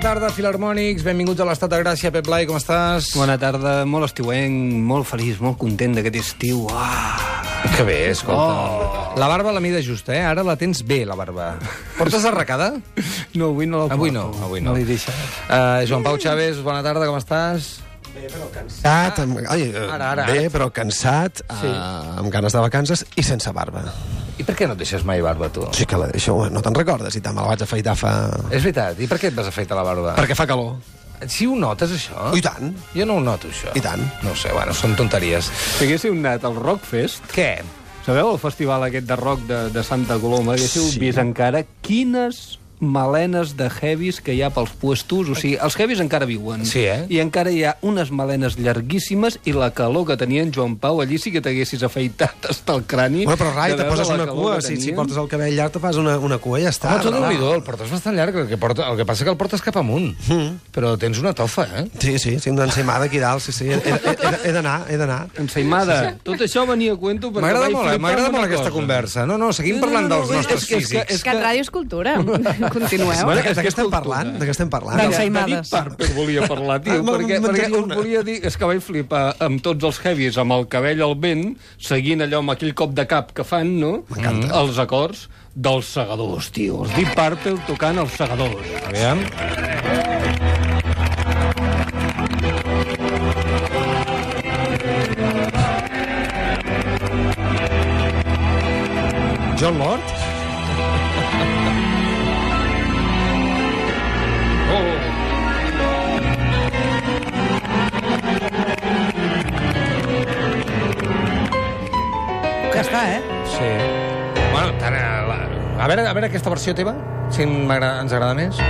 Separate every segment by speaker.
Speaker 1: tarda, Filarmònics. Benvinguts a l'Estat de Gràcia. Pep Blai, com estàs?
Speaker 2: Bona tarda, molt estiuenc, molt feliç, molt content d'aquest estiu. Ah.
Speaker 1: Que bé, escolta. Oh. La barba la mida justa, eh? Ara la tens bé, la barba. Portes arracada?
Speaker 2: No, avui no la
Speaker 1: Avui no,
Speaker 2: porto.
Speaker 1: avui no.
Speaker 2: No l'he deixat.
Speaker 1: Uh, Joan Pau Chaves, bona tarda, com estàs?
Speaker 3: cansat, amb, ai, eh,
Speaker 1: Ara, ara,
Speaker 3: bé,
Speaker 1: ara.
Speaker 3: però cansat, sí. amb ganes de vacances i sense barba.
Speaker 1: I per què no et deixes mai barba, tu?
Speaker 3: Sí que la deixo, no te'n recordes, i tant, me la vaig afaitar fa...
Speaker 1: És veritat. I per què et vas afeitar la barba?
Speaker 3: Perquè fa calor. Oh,
Speaker 1: Si ho notes, això?
Speaker 3: I tant.
Speaker 1: Jo no ho noto, això.
Speaker 3: I tant.
Speaker 1: No ho sé, bueno, són tonteries.
Speaker 2: Si haguéssiu anat al Rockfest,
Speaker 1: Què?
Speaker 2: sabeu el festival aquest de rock de, de Santa Coloma, haguéssiu sí. vist encara quines melenes de heavies que hi ha pels puestos, o sigui, els heavies encara viuen.
Speaker 1: Sí, eh?
Speaker 2: I encara hi ha unes melenes llarguíssimes i la calor que tenia en Joan Pau, allí sí que t'haguessis afeitat hasta el crani.
Speaker 3: Bueno, però rai,
Speaker 2: de
Speaker 3: te
Speaker 2: veure
Speaker 3: poses
Speaker 2: la
Speaker 3: una
Speaker 2: calor
Speaker 3: cua,
Speaker 2: que
Speaker 3: si, si
Speaker 2: tenien.
Speaker 3: portes el cabell llarg te fas una, una cua i ja està.
Speaker 1: Ah, tu
Speaker 3: brava.
Speaker 1: déu el portes bastant llarg. El que, porta, el que passa que el portes cap amunt.
Speaker 2: Hmm.
Speaker 1: Mm. Però tens una tofa, eh?
Speaker 3: Sí, sí, sí, una ensaïmada aquí dalt, sí, sí. He, he, he, he d'anar, he d'anar.
Speaker 2: Ensaïmada. Tot això venia a cuento perquè
Speaker 1: M'agrada
Speaker 2: vaig
Speaker 1: molt, eh?
Speaker 2: flipar
Speaker 1: m'agrada
Speaker 2: amb
Speaker 1: molt
Speaker 2: una
Speaker 1: aquesta
Speaker 2: cosa.
Speaker 1: conversa. No, no, seguim
Speaker 2: No, no,
Speaker 1: parlant
Speaker 2: no,
Speaker 1: dels
Speaker 2: no,
Speaker 1: nosttes
Speaker 2: és que- és que-
Speaker 1: físics.
Speaker 2: és
Speaker 4: Cat Ràdio és cultura. Continueu.
Speaker 2: Bueno,
Speaker 3: De,
Speaker 2: és
Speaker 3: de
Speaker 2: que
Speaker 3: què
Speaker 2: és
Speaker 3: estem
Speaker 2: cultura.
Speaker 3: parlant? De què estem
Speaker 1: Ah,
Speaker 3: parlant?
Speaker 4: Mira,
Speaker 2: Mira,
Speaker 4: Ensaïmades.
Speaker 2: David Parker volia parlar, tio,
Speaker 3: Ah, me'n-
Speaker 2: perquè,
Speaker 3: me'n
Speaker 2: perquè
Speaker 3: tenia
Speaker 2: us
Speaker 3: una.
Speaker 2: volia dir... És que vaig flipar amb tots els heavies, amb el cabell al vent, seguint allò amb aquell cop de cap que fan, no? M'encanta. Els acords dels segadors, tio. Els Deep Purple tocant els segadors.
Speaker 1: Aviam.
Speaker 3: John Lord?
Speaker 4: Ja està, eh?
Speaker 1: Sí. Bueno, tant, a, la... a, veure, a veure aquesta versió teva, si m'agrada- ens agrada més.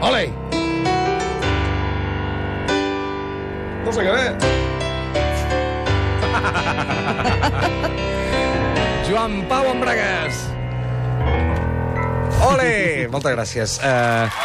Speaker 1: Ole!
Speaker 3: Cosa que bé.
Speaker 1: Joan Pau Embragues! Ole! Moltes gràcies. Uh,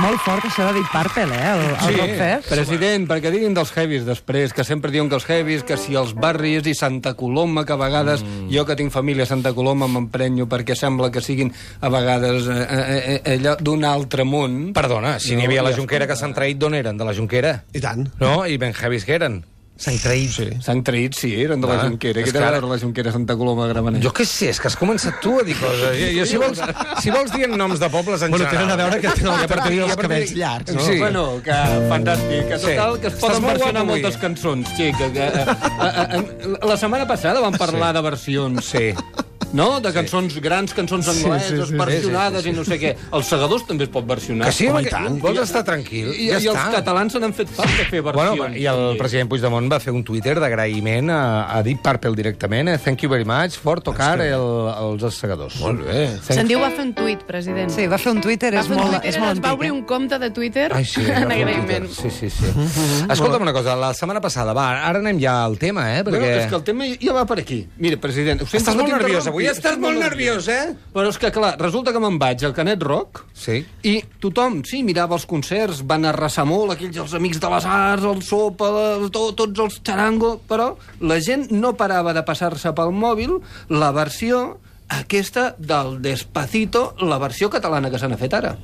Speaker 4: Molt fort, això de Deep Purple, eh? El, el Rockfest.
Speaker 2: president, perquè diguin dels heavies després, que sempre diuen que els heavies, que si els barris i Santa Coloma, que a vegades mm. jo que tinc família a Santa Coloma m'emprenyo perquè sembla que siguin a vegades eh, eh, eh, allò d'un altre món.
Speaker 1: perdona, si n'hi havia la Junquera que s'han traït, d'on eren? De la Junquera?
Speaker 3: I tant.
Speaker 1: No? I ben heavies que eren? S'han traït. Sí.
Speaker 2: S'han traït, sí, eren de la
Speaker 1: Ah,
Speaker 2: Junquera.
Speaker 1: és
Speaker 2: Què
Speaker 1: que
Speaker 2: té a
Speaker 1: ara-
Speaker 2: veure la Junquera Santa Coloma de Gramenet?
Speaker 1: Jo què sé, és que has començat tu a dir coses. Jo, jo, si, vols, si vols dient noms de pobles en
Speaker 3: Bueno,
Speaker 1: general...
Speaker 3: tenen a veure que tenen el
Speaker 1: partir-
Speaker 3: partit
Speaker 1: i a
Speaker 3: dels
Speaker 1: partir-
Speaker 3: cabells llargs, no?
Speaker 1: Sí.
Speaker 2: Bueno, que fantàstic. Que total,
Speaker 1: Sí.
Speaker 2: que es
Speaker 1: Estàs
Speaker 2: poden
Speaker 1: molt
Speaker 2: versionar
Speaker 1: guapo avui.
Speaker 2: moltes cançons. Sí, que, que, eh, eh, eh, la setmana passada vam parlar de versions.
Speaker 1: Sí.
Speaker 2: No? De cançons grans, cançons angleses, sí, sí, sí, versionades sí, sí, sí. i no sé què. Els segadors també es pot versionar.
Speaker 1: Que sí,
Speaker 3: Home,
Speaker 1: home,
Speaker 3: i tant.
Speaker 1: vols estar tranquil?
Speaker 2: I,
Speaker 1: ja
Speaker 2: i els
Speaker 1: està.
Speaker 2: catalans se n'han fet part de fer versions.
Speaker 1: Bueno, i el president Puigdemont va fer un Twitter d'agraïment a, a Deep Purple directament. Eh? Thank you very much for tocar el, els assegadors. Molt bé.
Speaker 4: Se'n
Speaker 1: Thank...
Speaker 4: diu va fer un tuit, president.
Speaker 5: Sí, va fer un Twitter,
Speaker 4: va
Speaker 5: és
Speaker 4: fer un
Speaker 5: molt,
Speaker 4: tuit,
Speaker 5: és molt
Speaker 4: es va
Speaker 5: antic.
Speaker 4: obrir
Speaker 5: eh?
Speaker 4: un compte de Twitter
Speaker 1: Ai, sí,
Speaker 4: en
Speaker 1: va fer un
Speaker 4: agraïment.
Speaker 1: Twitter. sí, sí, sí. Escolta'm una cosa, la setmana passada, va, ara anem ja al tema, eh?
Speaker 2: Perquè...
Speaker 1: Perquè...
Speaker 2: Bueno, és que el tema ja va per aquí. Mira, president... ho sento,
Speaker 1: Estàs
Speaker 2: no
Speaker 1: molt nerviós
Speaker 2: t'interrompi,
Speaker 1: avui, estàs molt nerviós, eh?
Speaker 2: Però és que, clar, resulta que me'n vaig al Canet Rock
Speaker 1: Sí.
Speaker 2: i tothom, sí, mirava els concerts, van arrasar molt, aquells els amics de les arts, el sopa, el- to, tots els xarango, però la gent no parava de passar-se pel mòbil la versió aquesta del Despacito, la versió catalana que se n'ha fet ara.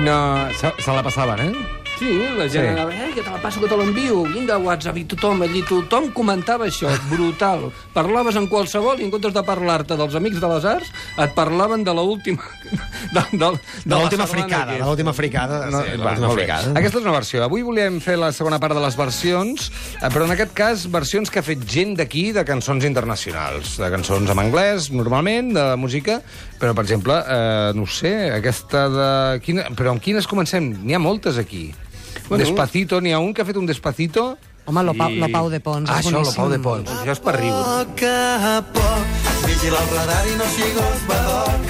Speaker 1: No, se, se la passaven, eh?
Speaker 2: Sí, la
Speaker 1: Sí.
Speaker 2: gent sí. anava, eh, que te la passo, que te l'envio. Vinga, WhatsApp, i tothom allí, tothom comentava això, brutal. Parlaves amb qualsevol i en comptes de parlar-te dels amics de les arts, et parlaven de l'última... De, de, de,
Speaker 3: De l'última
Speaker 2: la sardana
Speaker 3: fricada, de
Speaker 2: aquesta.
Speaker 3: l'última fricada.
Speaker 1: No,
Speaker 3: sí, de
Speaker 1: va,
Speaker 3: l'última
Speaker 1: molt bé.
Speaker 3: fricada.
Speaker 1: Aquesta és una versió. Avui volíem fer la segona part de les versions, eh, però en aquest cas versions que ha fet gent d'aquí de cançons internacionals, de cançons en anglès, normalment, de música, però, per exemple, eh, no ho sé, aquesta de... Quina... Però amb quines comencem? N'hi ha moltes aquí. Bueno. Despacito, n'hi ha un que ha fet un Despacito...
Speaker 5: Home, lo, pa, lo Pau de Pons,
Speaker 1: Ah,
Speaker 5: és
Speaker 1: això, el
Speaker 5: boníssim.
Speaker 1: Pau de Pons. Això és per riure.
Speaker 6: poc a poc. Vigila el pledari, no sigues badoc.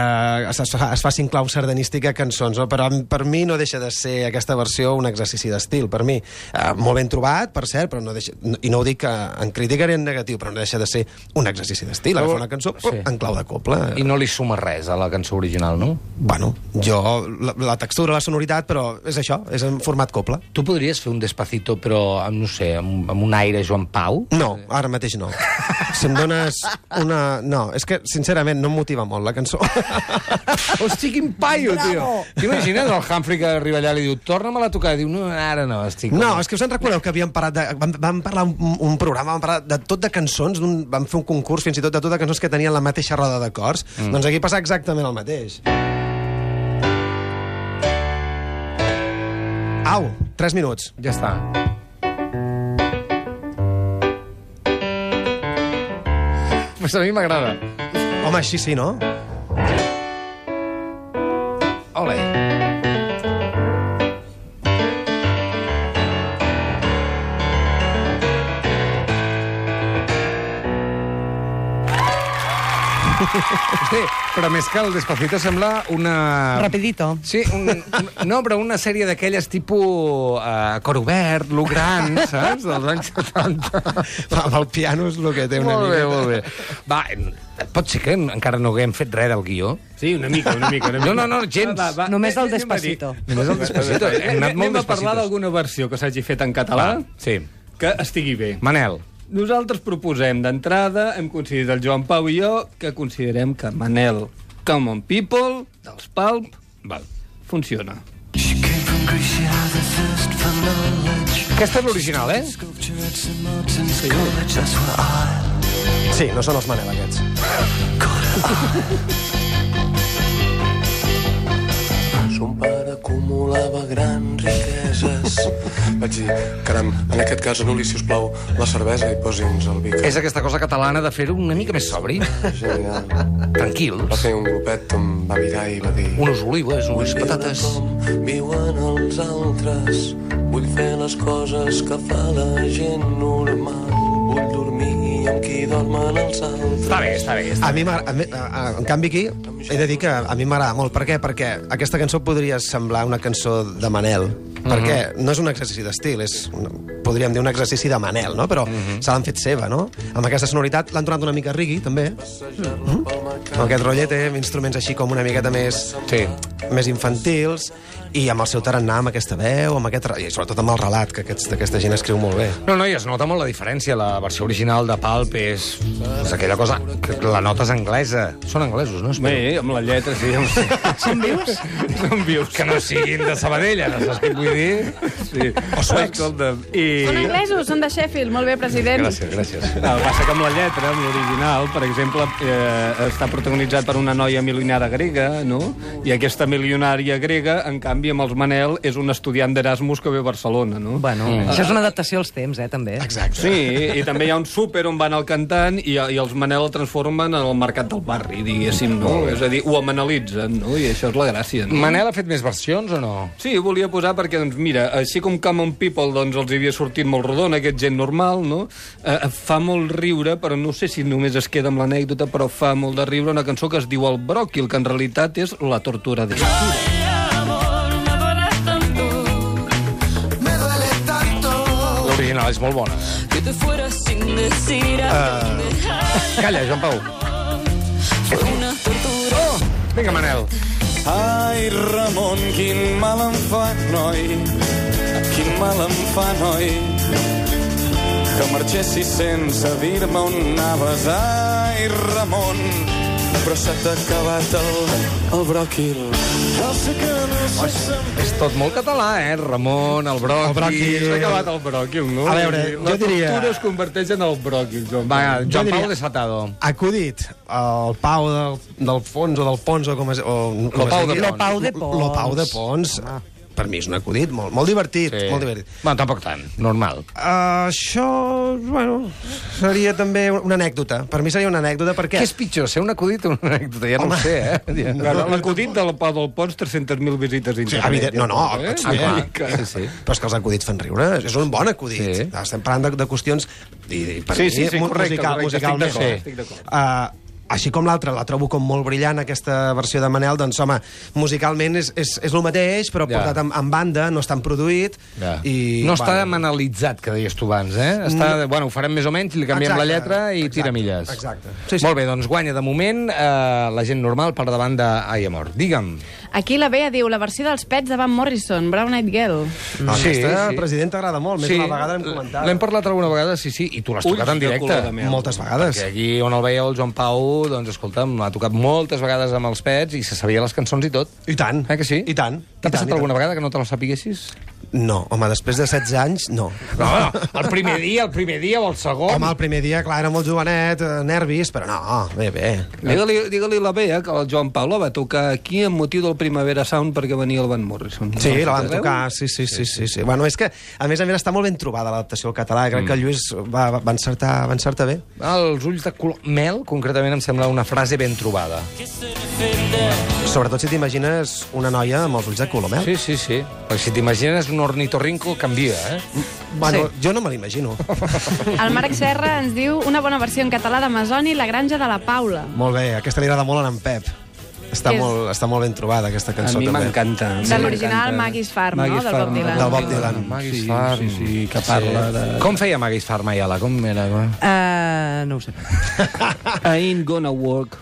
Speaker 3: es, es, fa- es facin clau sardanística a cançons, no? però em- per mi no deixa de ser aquesta versió un exercici d'estil, per mi. Eh, molt ben trobat, per cert, però no deixa, no- i no ho dic eh, en crítica ni en negatiu, però no deixa de ser un exercici d'estil, agafar una cançó
Speaker 1: Sí.
Speaker 3: sí. en clau de copla.
Speaker 1: I no li suma res a la cançó original, no?
Speaker 3: Bueno, jo, la, la textura, la sonoritat, però és això, és en format copla.
Speaker 1: Tu podries fer un despacito, però, amb, no sé, amb, amb un aire Joan Pau?
Speaker 3: No, ara mateix no. Si em dones una... No, és que, sincerament, no em motiva molt la cançó.
Speaker 1: Hosti, quin paio, tio! T'imagines el Humphrey que arriba allà i li diu torna-me-la a tocar? I diu, no, ara no, estic...
Speaker 3: No, és que us en recordeu que havíem parat de, vam, vam parlar un, un programa, vam parlar de tot de cançons, d'un, vam fer un concurs fins i tot de tot de cançons que tenien la mateixa roda d'acords. Mm. Doncs aquí passa exactament el mateix. Au, 3 minuts.
Speaker 1: Ja està. Pues a mi m'agrada.
Speaker 3: Home, així sí, no?
Speaker 1: Ole. Sí, però més que el Despacito sembla una...
Speaker 5: Rapidito.
Speaker 1: Sí, un, un, no, però una sèrie d'aquelles tipus uh, cor obert, lo gran, saps? Dels anys 70.
Speaker 3: Amb el piano és el que té una
Speaker 1: molt bé,
Speaker 3: miqueta.
Speaker 1: molt bé. Va, pot ser que en- encara no haguem fet res del guió.
Speaker 2: Sí, una mica, una mica. Una
Speaker 1: No,
Speaker 2: mica.
Speaker 1: no, no, gens.
Speaker 5: Només el
Speaker 2: anem a dir-
Speaker 5: Despacito.
Speaker 1: Només el Despacito. Hem anat
Speaker 2: Anem
Speaker 1: molt
Speaker 2: a
Speaker 1: despacitos.
Speaker 2: parlar d'alguna versió que s'hagi fet en català
Speaker 1: Va, sí.
Speaker 2: que estigui bé.
Speaker 1: Manel,
Speaker 2: Nosaltres proposem d'entrada, hem coincidit el Joan Pau i jo, que considerem que Manel Common People, dels Palp, val, funciona.
Speaker 6: She came from Greece, she had a thirst for knowledge
Speaker 1: aquesta és l'original, eh?
Speaker 6: Sculpture at St. Martin's College, that's where I
Speaker 3: Sí, no són els Manel, aquests.
Speaker 6: Son pare acumulava grans riqueses.
Speaker 7: Vaig dir, caram, en aquest cas anul·li, si us plau, la cervesa i posi'ns el vi. que
Speaker 1: És aquesta cosa catalana de fer-ho una mica més sobri,
Speaker 7: És genial. Va
Speaker 1: tranquils.
Speaker 7: fer un glopet, em va mirar i va dir...
Speaker 1: Unes olives, unes patates...
Speaker 6: Com viuen els altres. Vull fer les coses que fa la gent normal. Vull dormir amb
Speaker 7: qui dormen els altres.
Speaker 2: Està bé, està bé. Està
Speaker 3: A mi, m'agra- a mi a, a, en canvi, aquí he de dir que a mi m'agrada molt. Per què? Perquè aquesta cançó podria semblar una cançó de Manel. Perquè no és un exercici d'estil, és, un- podríem dir, un exercici de Manel, no? Però se l'han fet seva, no? Amb aquesta sonoritat l'han tornat una mica rigui, també.
Speaker 7: Passejar-la pel
Speaker 3: Amb
Speaker 7: mercat.
Speaker 3: aquest rotllet té instruments així com una miqueta més
Speaker 1: Sí.
Speaker 3: més infantils i amb el seu tarannà, amb aquesta veu, amb aquest, re- i sobretot amb el relat, que aquests, aquesta gent escriu molt bé.
Speaker 1: No, no, i es nota molt la diferència. La versió original de Palp és, és aquella cosa... Que la nota és anglesa. Són anglesos, no? Espero.
Speaker 2: Bé, amb la lletra, sí. Amb... Són vius? Són vius.
Speaker 1: Que no siguin de Sabadell, ara saps què et vull dir?
Speaker 2: Sí. O suecs. I...
Speaker 8: Són anglesos, són de Sheffield. Molt bé, president.
Speaker 1: Gràcies, gràcies.
Speaker 2: El passa que amb la lletra, amb l'original, per exemple, eh, està protagonitzat per una noia milionària grega, no? I aquesta milionària grega, en canvi, amb els Manel, és un estudiant d'Erasmus que ve a Barcelona, no?
Speaker 4: Bueno, mm. això és una adaptació als temps, eh, també.
Speaker 2: Exacte. Sí, i també hi ha un súper on van el cantant i, i els Manel el transformen en el mercat del barri, diguéssim, no? És a dir, ho amanalitzen, no? I això és la gràcia, no?
Speaker 1: Manel ha fet més versions o no?
Speaker 2: Sí, ho volia posar perquè, doncs, mira, així com Common People doncs, els hi havia sortit molt rodon, aquest gent normal, no? Eh, fa molt riure, però no sé si només es queda amb l'anècdota, però fa molt de riure una cançó que es diu El bròquil, que en realitat és La tortura de
Speaker 9: Me duele tanto.
Speaker 1: L'original és molt bona. Ah. Calla, Joan Pau. Oh! Vinga, Manel.
Speaker 7: Ai, Ramon, quin mal em fa, noi. Quin mal em fa, noi. Que marxessis sense dir-me on anaves. Ai, Ramon, però s'ha acabat el, el bròquil. Jo sé que no se sent
Speaker 1: És tot molt català, eh? Ramon, el bròquil... El bròquil.
Speaker 2: S'ha acabat el bròquil, no?
Speaker 3: A veure,
Speaker 2: la
Speaker 3: jo diria-
Speaker 2: tortura es converteix en el bròquil, Joan.
Speaker 1: Va, Joan
Speaker 3: diria-
Speaker 1: Pau desatado.
Speaker 3: Acudit, el Pau del, del Fons o del Pons o com es... O, com
Speaker 1: Lo Pau
Speaker 3: es digui.
Speaker 1: de Pons. Lo
Speaker 4: Pau de Pons.
Speaker 3: Lo Pau de Pons. Per mi és un acudit molt, molt divertit, sí. molt divertit.
Speaker 1: Bueno, tampoc tant, normal.
Speaker 3: Uh, això, bueno, seria també una anècdota. Per mi seria una anècdota perquè...
Speaker 1: Què és pitjor, ser un acudit o una anècdota? Ja no
Speaker 3: Home.
Speaker 1: ho sé, eh? Ja.
Speaker 2: Bueno, L'acudit del Pau del Pons, 300.000 visites a
Speaker 3: Sí,
Speaker 2: internet.
Speaker 3: evident, no, no,
Speaker 2: Eh?
Speaker 3: eh?
Speaker 1: Ah, clar.
Speaker 2: Que-
Speaker 1: Sí, sí.
Speaker 3: Però és que els acudits fan riure, és un bon acudit.
Speaker 1: Sí.
Speaker 3: Sí. Estem parlant de, de qüestions i, i per
Speaker 2: Sí,
Speaker 3: mi,
Speaker 2: sí, sí,
Speaker 3: mu-
Speaker 2: correcte,
Speaker 3: musical,
Speaker 2: correcte, estic
Speaker 3: musicalment.
Speaker 2: d'acord, estic d'acord.
Speaker 3: Uh, així com l'altra, la trobo com molt brillant, aquesta versió de Manel, doncs, home, musicalment és, és, és el mateix, però
Speaker 1: Ja.
Speaker 3: ja. portat en, en banda, no és tan produït.
Speaker 1: Ja.
Speaker 3: I,
Speaker 1: no està banalitzat, que deies tu abans, eh? Està, bueno, ho farem més o menys, li canviem la
Speaker 3: Exacte,
Speaker 1: lletra i
Speaker 3: exacte,
Speaker 1: tira milles.
Speaker 3: exacte.
Speaker 1: Sí,
Speaker 3: Sí,
Speaker 1: sí.
Speaker 3: sí.
Speaker 1: Molt bé, doncs guanya de moment eh, la gent normal per davant de Ai Amor. Digue'm.
Speaker 8: Aquí la Bea diu la versió dels pets de Van Morrison, Brown Eyed Girl.
Speaker 3: No,
Speaker 1: Sí,
Speaker 3: aquesta,
Speaker 1: sí.
Speaker 3: president, t'agrada molt, més sí. una vegada l'hem comentat.
Speaker 1: L'hem parlat alguna vegada, sí, sí, i tu l'has tocat en
Speaker 2: de
Speaker 1: directe.
Speaker 2: color de mel.
Speaker 3: Moltes vegades.
Speaker 1: Que aquí on el veieu, el Joan Pau, doncs escolta'm, l'ha tocat moltes vegades amb els pets i se sabia les cançons i tot.
Speaker 3: I tant.
Speaker 1: Eh que sí?
Speaker 3: I tant.
Speaker 1: T'ha
Speaker 3: i tant,
Speaker 1: passat
Speaker 3: i tant.
Speaker 1: alguna vegada que no te la sapiguessis?
Speaker 3: No, home, després de 16 anys, no.
Speaker 1: No, no, el primer dia, el primer dia o el segon.
Speaker 3: Home, el primer dia, clar, era molt jovenet, eh, nervis, però no, bé, bé.
Speaker 2: Digue-li digue la Bea que el Joan Pau la va tocar aquí amb motiu del Primavera Sound perquè venia el Van Morrison.
Speaker 3: Sí, la van
Speaker 2: recordeu?
Speaker 3: tocar, sí, sí, sí, sí, sí. Bueno, és que, a més a més, està molt ben trobada l'adaptació al català. Crec que el Lluís va, va, va, encertar, va encertar bé.
Speaker 1: Els ulls de color mel, concretament, em sembla una frase ben trobada.
Speaker 3: Sobretot si t'imagines una noia amb els ulls de color mel.
Speaker 1: Sí, sí, sí. Perquè si t'imagines un ornitorrinco, canvia, eh?
Speaker 3: Bueno, jo no me l'imagino.
Speaker 8: El Marc Serra ens diu una bona versió en català d'Amazoni, La granja de la Paula.
Speaker 3: molt bé, aquesta li agrada molt a en Pep. Està,
Speaker 8: És-
Speaker 3: molt, està molt ben trobada, aquesta
Speaker 2: A
Speaker 3: cançó,
Speaker 2: mi
Speaker 3: també.
Speaker 2: m'encanta. a mi
Speaker 8: De l'original
Speaker 2: m'encanta.
Speaker 8: Maggie's Farm, no?
Speaker 2: Maggie's
Speaker 8: Del Bob
Speaker 2: Farm,
Speaker 8: Dylan.
Speaker 3: Del Bob Dylan.
Speaker 1: Maggie's
Speaker 2: sí,
Speaker 1: Farm.
Speaker 2: Sí, sí, que parla de...
Speaker 1: Com feia Maggie's Farmayala? Com era? eh?
Speaker 4: Uh, no ho sé.
Speaker 2: I ain't gonna work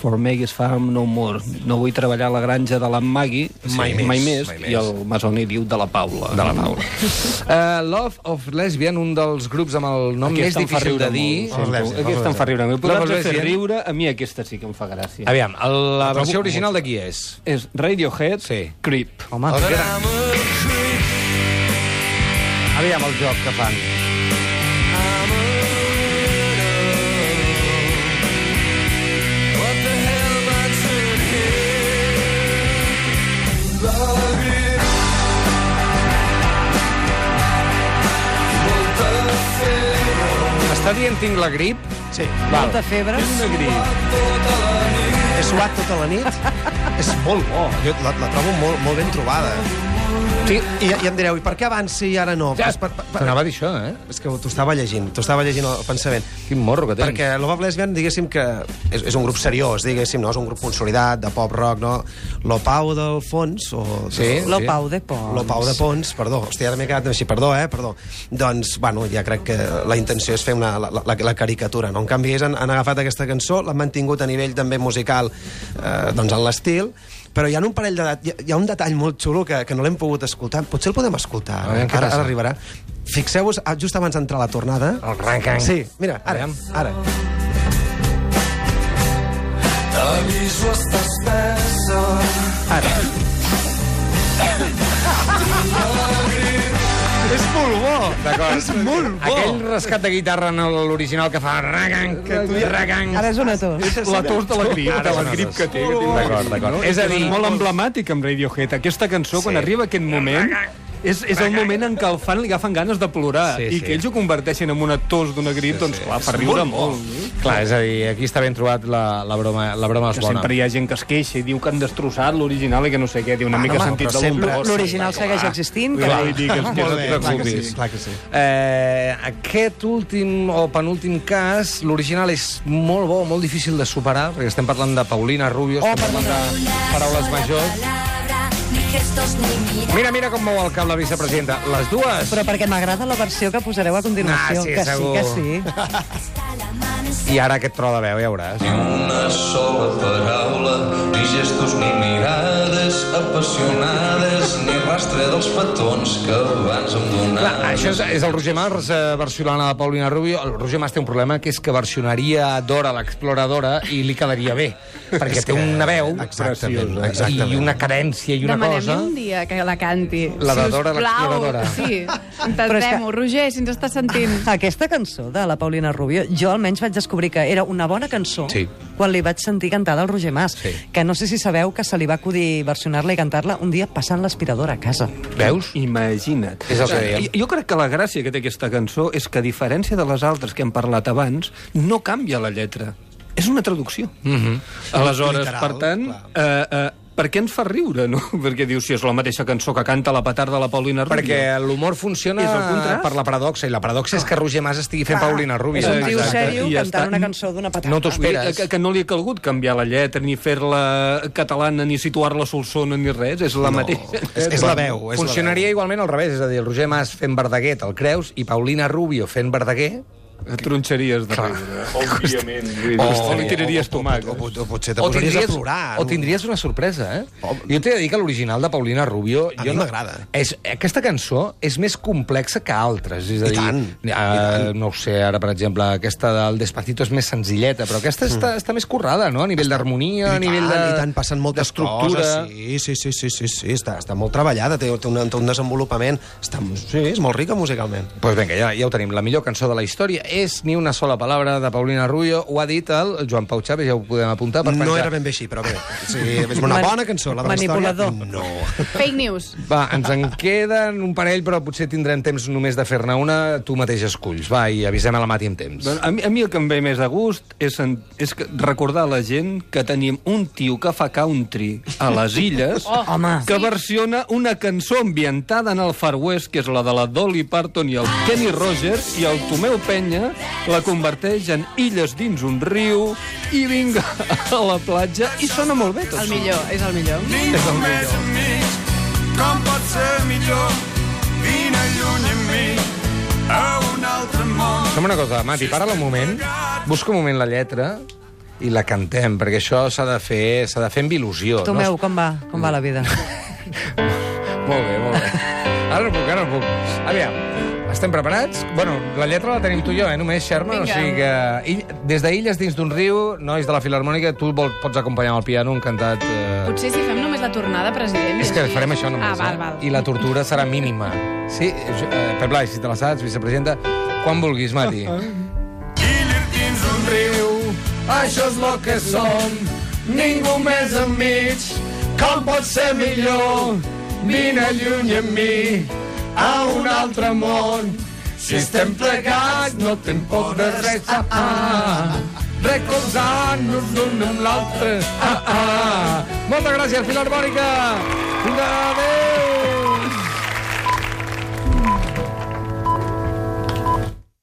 Speaker 2: for Maggie's Farm no more. No vull treballar a la granja de la Maggie mai,
Speaker 1: més,
Speaker 2: mai més.
Speaker 1: mai
Speaker 2: I el Masoni diu de la Paula. De la Paula.
Speaker 1: Uh, Love of Lesbian, un dels grups amb el nom
Speaker 2: Aquesta
Speaker 1: més
Speaker 2: em fa
Speaker 1: difícil
Speaker 2: riure
Speaker 1: de dir.
Speaker 2: molt. Sento, Aquesta em fa riure. M'he
Speaker 1: Love
Speaker 2: posat
Speaker 1: of
Speaker 2: a fer
Speaker 1: Lesbian.
Speaker 2: riure, a mi aquesta sí que em fa gràcia.
Speaker 1: Aviam, el, Oh. la versió original de qui és?
Speaker 2: És Radiohead,
Speaker 1: Sí.
Speaker 2: Creep.
Speaker 4: Home,
Speaker 1: Aviam el joc que fan. Està dient tinc la grip?
Speaker 3: Sí.
Speaker 4: molta febre.
Speaker 2: Una grip.
Speaker 3: He suat tota la nit. és molt bo. Jo la, la trobo molt, molt ben trobada. Sí. I, I em direu, i per què abans sí i ara no?
Speaker 1: Ja,
Speaker 3: Pues per, per, per,
Speaker 1: T'anava a dir això, eh?
Speaker 3: és que t'ho estava llegint, t'ho estava llegint el pensament.
Speaker 1: Quin morro que tens.
Speaker 3: Perquè l'Obab Lesbian, diguéssim que és, és un grup seriós, diguéssim, no? És un grup consolidat, de pop-rock, no? L'Opau del fons, o...
Speaker 1: Sí.
Speaker 4: Lo Pau de Pons.
Speaker 3: Lo Pau de Pons, perdó. Hòstia, ara m'he quedat així, perdó, eh, perdó. Doncs, bueno, ja crec que la intenció és fer una, la, la, la caricatura, no? En canvi, ells han, han agafat aquesta cançó, l'han mantingut a nivell també musical, eh, doncs en l'estil, però hi ha un parell de... dat- Hi ha, hi ha un detall molt xulo que, que no l'hem pogut escoltar. Potser el podem escoltar,
Speaker 1: A veure, què
Speaker 3: ara,
Speaker 1: passa?
Speaker 3: ara arribarà. Fixeu-vos, ah, just abans d'entrar a la tornada...
Speaker 1: El ranking.
Speaker 3: Sí, mira, ara,
Speaker 1: Aviam.
Speaker 3: ara.
Speaker 7: T'aviso, estàs espessa.
Speaker 3: És molt bo!
Speaker 1: D'acord.
Speaker 3: És molt bo!
Speaker 1: Aquell rescat de guitarra en el- l'original que fa... Ragang, que tu ragang.
Speaker 4: Ara és una tos.
Speaker 2: La tos de la grip,
Speaker 1: Ara
Speaker 2: de la
Speaker 1: són
Speaker 2: grip
Speaker 1: els
Speaker 2: que
Speaker 1: dos.
Speaker 2: té. que té una
Speaker 1: D'acord,
Speaker 2: grip,
Speaker 1: d'acord.
Speaker 2: no?
Speaker 1: És a dir-
Speaker 2: molt emblemàtic amb Radiohead. Aquesta cançó, quan arriba aquest moment, és, és el moment en què el fan li agafen ganes de plorar
Speaker 1: Sí,
Speaker 2: i
Speaker 1: sí.
Speaker 2: que ells ho converteixen en una tos d'una grip, doncs clar, per riure molt. no?
Speaker 1: Clar, és a dir, aquí està ben trobat la, la broma, la broma és
Speaker 2: Que
Speaker 1: bona.
Speaker 2: sempre hi ha gent que es queixa i diu que han destrossat l'original i que no sé què, diu una
Speaker 3: Ah,
Speaker 2: mica
Speaker 3: home,
Speaker 2: sentit
Speaker 3: però
Speaker 2: de
Speaker 3: sempre-
Speaker 2: l'humor.
Speaker 4: L'original segueix existint, que
Speaker 2: Vull
Speaker 1: Que
Speaker 2: dir que, que, que,
Speaker 1: no t'hi
Speaker 3: bé, clar que
Speaker 1: preocupis.
Speaker 3: sí, clar que sí.
Speaker 1: Eh, aquest últim o penúltim cas, l'original és molt bo, molt difícil de superar, perquè estem parlant de Paulina Rubio, estem parlant de paraules majors. Mira, mira com mou el cap la vicepresidenta. Les dues.
Speaker 4: Però perquè m'agrada la versió que posareu a continuació.
Speaker 1: Ah, sí,
Speaker 4: que
Speaker 1: segur.
Speaker 4: sí, que sí.
Speaker 1: I ara aquest tro de veu, ja veuràs.
Speaker 7: Ni una sola paraula, ni gestos, ni mirades apassionades, ni rastre dels petons que abans em
Speaker 1: Clar,
Speaker 7: donaves.
Speaker 1: això és, és el Roger Mars eh, versionant a la Paulina Rubio. El Roger Mars té un problema, que és que versionaria a Dora l'exploradora i li quedaria bé, perquè té una veu
Speaker 3: Exactament,
Speaker 1: preciosa
Speaker 3: exactament.
Speaker 1: i una cadència i una
Speaker 8: Demanem
Speaker 1: cosa...
Speaker 8: un dia que la canti.
Speaker 1: La de
Speaker 8: Si us
Speaker 1: Dora
Speaker 8: plau.
Speaker 1: l'exploradora.
Speaker 8: Sí,
Speaker 4: Però és
Speaker 8: entendem-ho.
Speaker 4: que-
Speaker 8: Roger, si ens estàs sentint...
Speaker 4: Aquesta cançó de la Paulina Rubio, jo almenys vaig descobrir que era una bona cançó
Speaker 1: Sí.
Speaker 4: quan li vaig sentir cantar del Roger Mas,
Speaker 1: Sí.
Speaker 4: que no sé si sabeu que se li va acudir versionar-la i cantar-la un dia passant l'aspiradora a casa.
Speaker 1: Veus?
Speaker 2: Imagina't.
Speaker 1: És el que dèiem.
Speaker 2: Jo, jo crec que la gràcia que té aquesta cançó és que, a diferència de les altres que hem parlat abans, no canvia la lletra. És una traducció. Mm -hmm. Aleshores,
Speaker 3: Literal,
Speaker 2: per tant... Eh, eh, per què ens fa riure, no? Perquè diu, si és la mateixa cançó que canta la petarda de la Paulina Rubio.
Speaker 1: Perquè l'humor funciona
Speaker 2: És el contrast.
Speaker 1: per la paradoxa, i la paradoxa és que Roger Mas estigui fent Paulina Rubio.
Speaker 4: És un tio
Speaker 2: Exacte.
Speaker 4: sèrio
Speaker 2: I ja
Speaker 4: cantant
Speaker 2: està.
Speaker 4: una cançó d'una patata.
Speaker 1: No t'ho
Speaker 2: Vull dir,
Speaker 1: esperes.
Speaker 2: Que, que no li ha calgut canviar la lletra, ni fer-la catalana, ni situar-la a solsona, ni res. És la no. mateixa.
Speaker 3: És, és la veu, és
Speaker 1: Funcionaria igualment al revés, és a dir, el Roger Mas fent Verdaguer al Creus i Paulina Rubio fent Verdaguer
Speaker 2: Tronxeries de riure. Oh. Òbviament. O, o li tiraries tomàquet.
Speaker 3: la veu. O, pot- o potser te posaries a plorar.
Speaker 1: o tindries una sorpresa, eh? Jo t'he de dir que l'original de Paulina Rubio...
Speaker 3: A
Speaker 1: jo
Speaker 3: mi
Speaker 1: no-
Speaker 3: m'agrada.
Speaker 1: és- Aquesta cançó és més complexa que altres. És a
Speaker 3: I
Speaker 1: dir,
Speaker 3: tant,
Speaker 1: eh, No ho sé, ara, per exemple, aquesta del Despacito és més senzilleta, però aquesta està, està més currada, no? A nivell d'harmonia, a
Speaker 3: I
Speaker 1: nivell
Speaker 3: tant,
Speaker 1: de...
Speaker 3: i tant, passen moltes
Speaker 1: d'estructura.
Speaker 3: coses. Sí, sí, sí, sí, sí, sí està, està molt treballada, té, té, un, té un desenvolupament. Està, sí, és molt rica musicalment.
Speaker 1: Pues vinga, ja, ja ho tenim. La millor cançó de la història és Ni una sola palabra de Paulina Rubio. Ho ha dit el Joan Pau Chaves, ja ho podem apuntar. Per
Speaker 3: No
Speaker 1: penjar.
Speaker 3: era ben bé així, però bé. Sí, és una
Speaker 4: Man-
Speaker 3: bona cançó, la de la història.
Speaker 4: Manipulador.
Speaker 3: No.
Speaker 8: Fake news.
Speaker 1: Va, ens en queden un parell, però potser tindrem temps només de fer-ne una. Tu mateix esculls. Va, i avisem a la Mati amb temps.
Speaker 2: Doncs a, mi, a mi el que em ve més de gust és, en, és que recordar a la gent que tenim un tio que fa country a les illes
Speaker 8: Oh,
Speaker 4: Home.
Speaker 2: que versiona una cançó ambientada en el Far West, que és la de la Dolly Parton i el Kenny Rogers, i el Tomeu Penya la converteix en illes dins un riu i vinga a la platja i sona molt bé tot.
Speaker 8: El millor, és el millor.
Speaker 2: És el millor.
Speaker 10: com pot ser millor vine lluny amb mi a un altre món
Speaker 1: Fem una cosa, Mati, para-la un moment, busca un moment la lletra i la cantem, perquè això s'ha de fer s'ha de fer amb il·lusió.
Speaker 4: Tomeu, com va? Com va la vida?
Speaker 1: No? Molt bé, molt bé. Ara no puc, ara no puc. Aviam, estem preparats? Bueno, la lletra la tenim tu i jo, eh, només, Xerma, o
Speaker 8: Vinga.
Speaker 1: sigui que... ill- Des d'Illes dins d'un riu, nois de la Filarmònica, tu vol, pots acompanyar amb el piano, un cantat... Eh...
Speaker 8: Potser si fem només la tornada, president.
Speaker 1: És que
Speaker 8: així.
Speaker 1: farem això només,
Speaker 8: Ah, val, val.
Speaker 1: eh? I la tortura serà mínima. Sí, eh, Pep Blai, si te la saps, vicepresidenta, quan vulguis, Mati.
Speaker 10: Illes dins un riu això és lo que som ningú més enmig com pot ser millor vine lluny amb mi a un altre món si estem plegats no tenim por de res ah, ah. recolzant-nos l'un amb l'altre
Speaker 1: Ah, ah. Moltes gràcies, Filarmònica! Fins ara, adéu!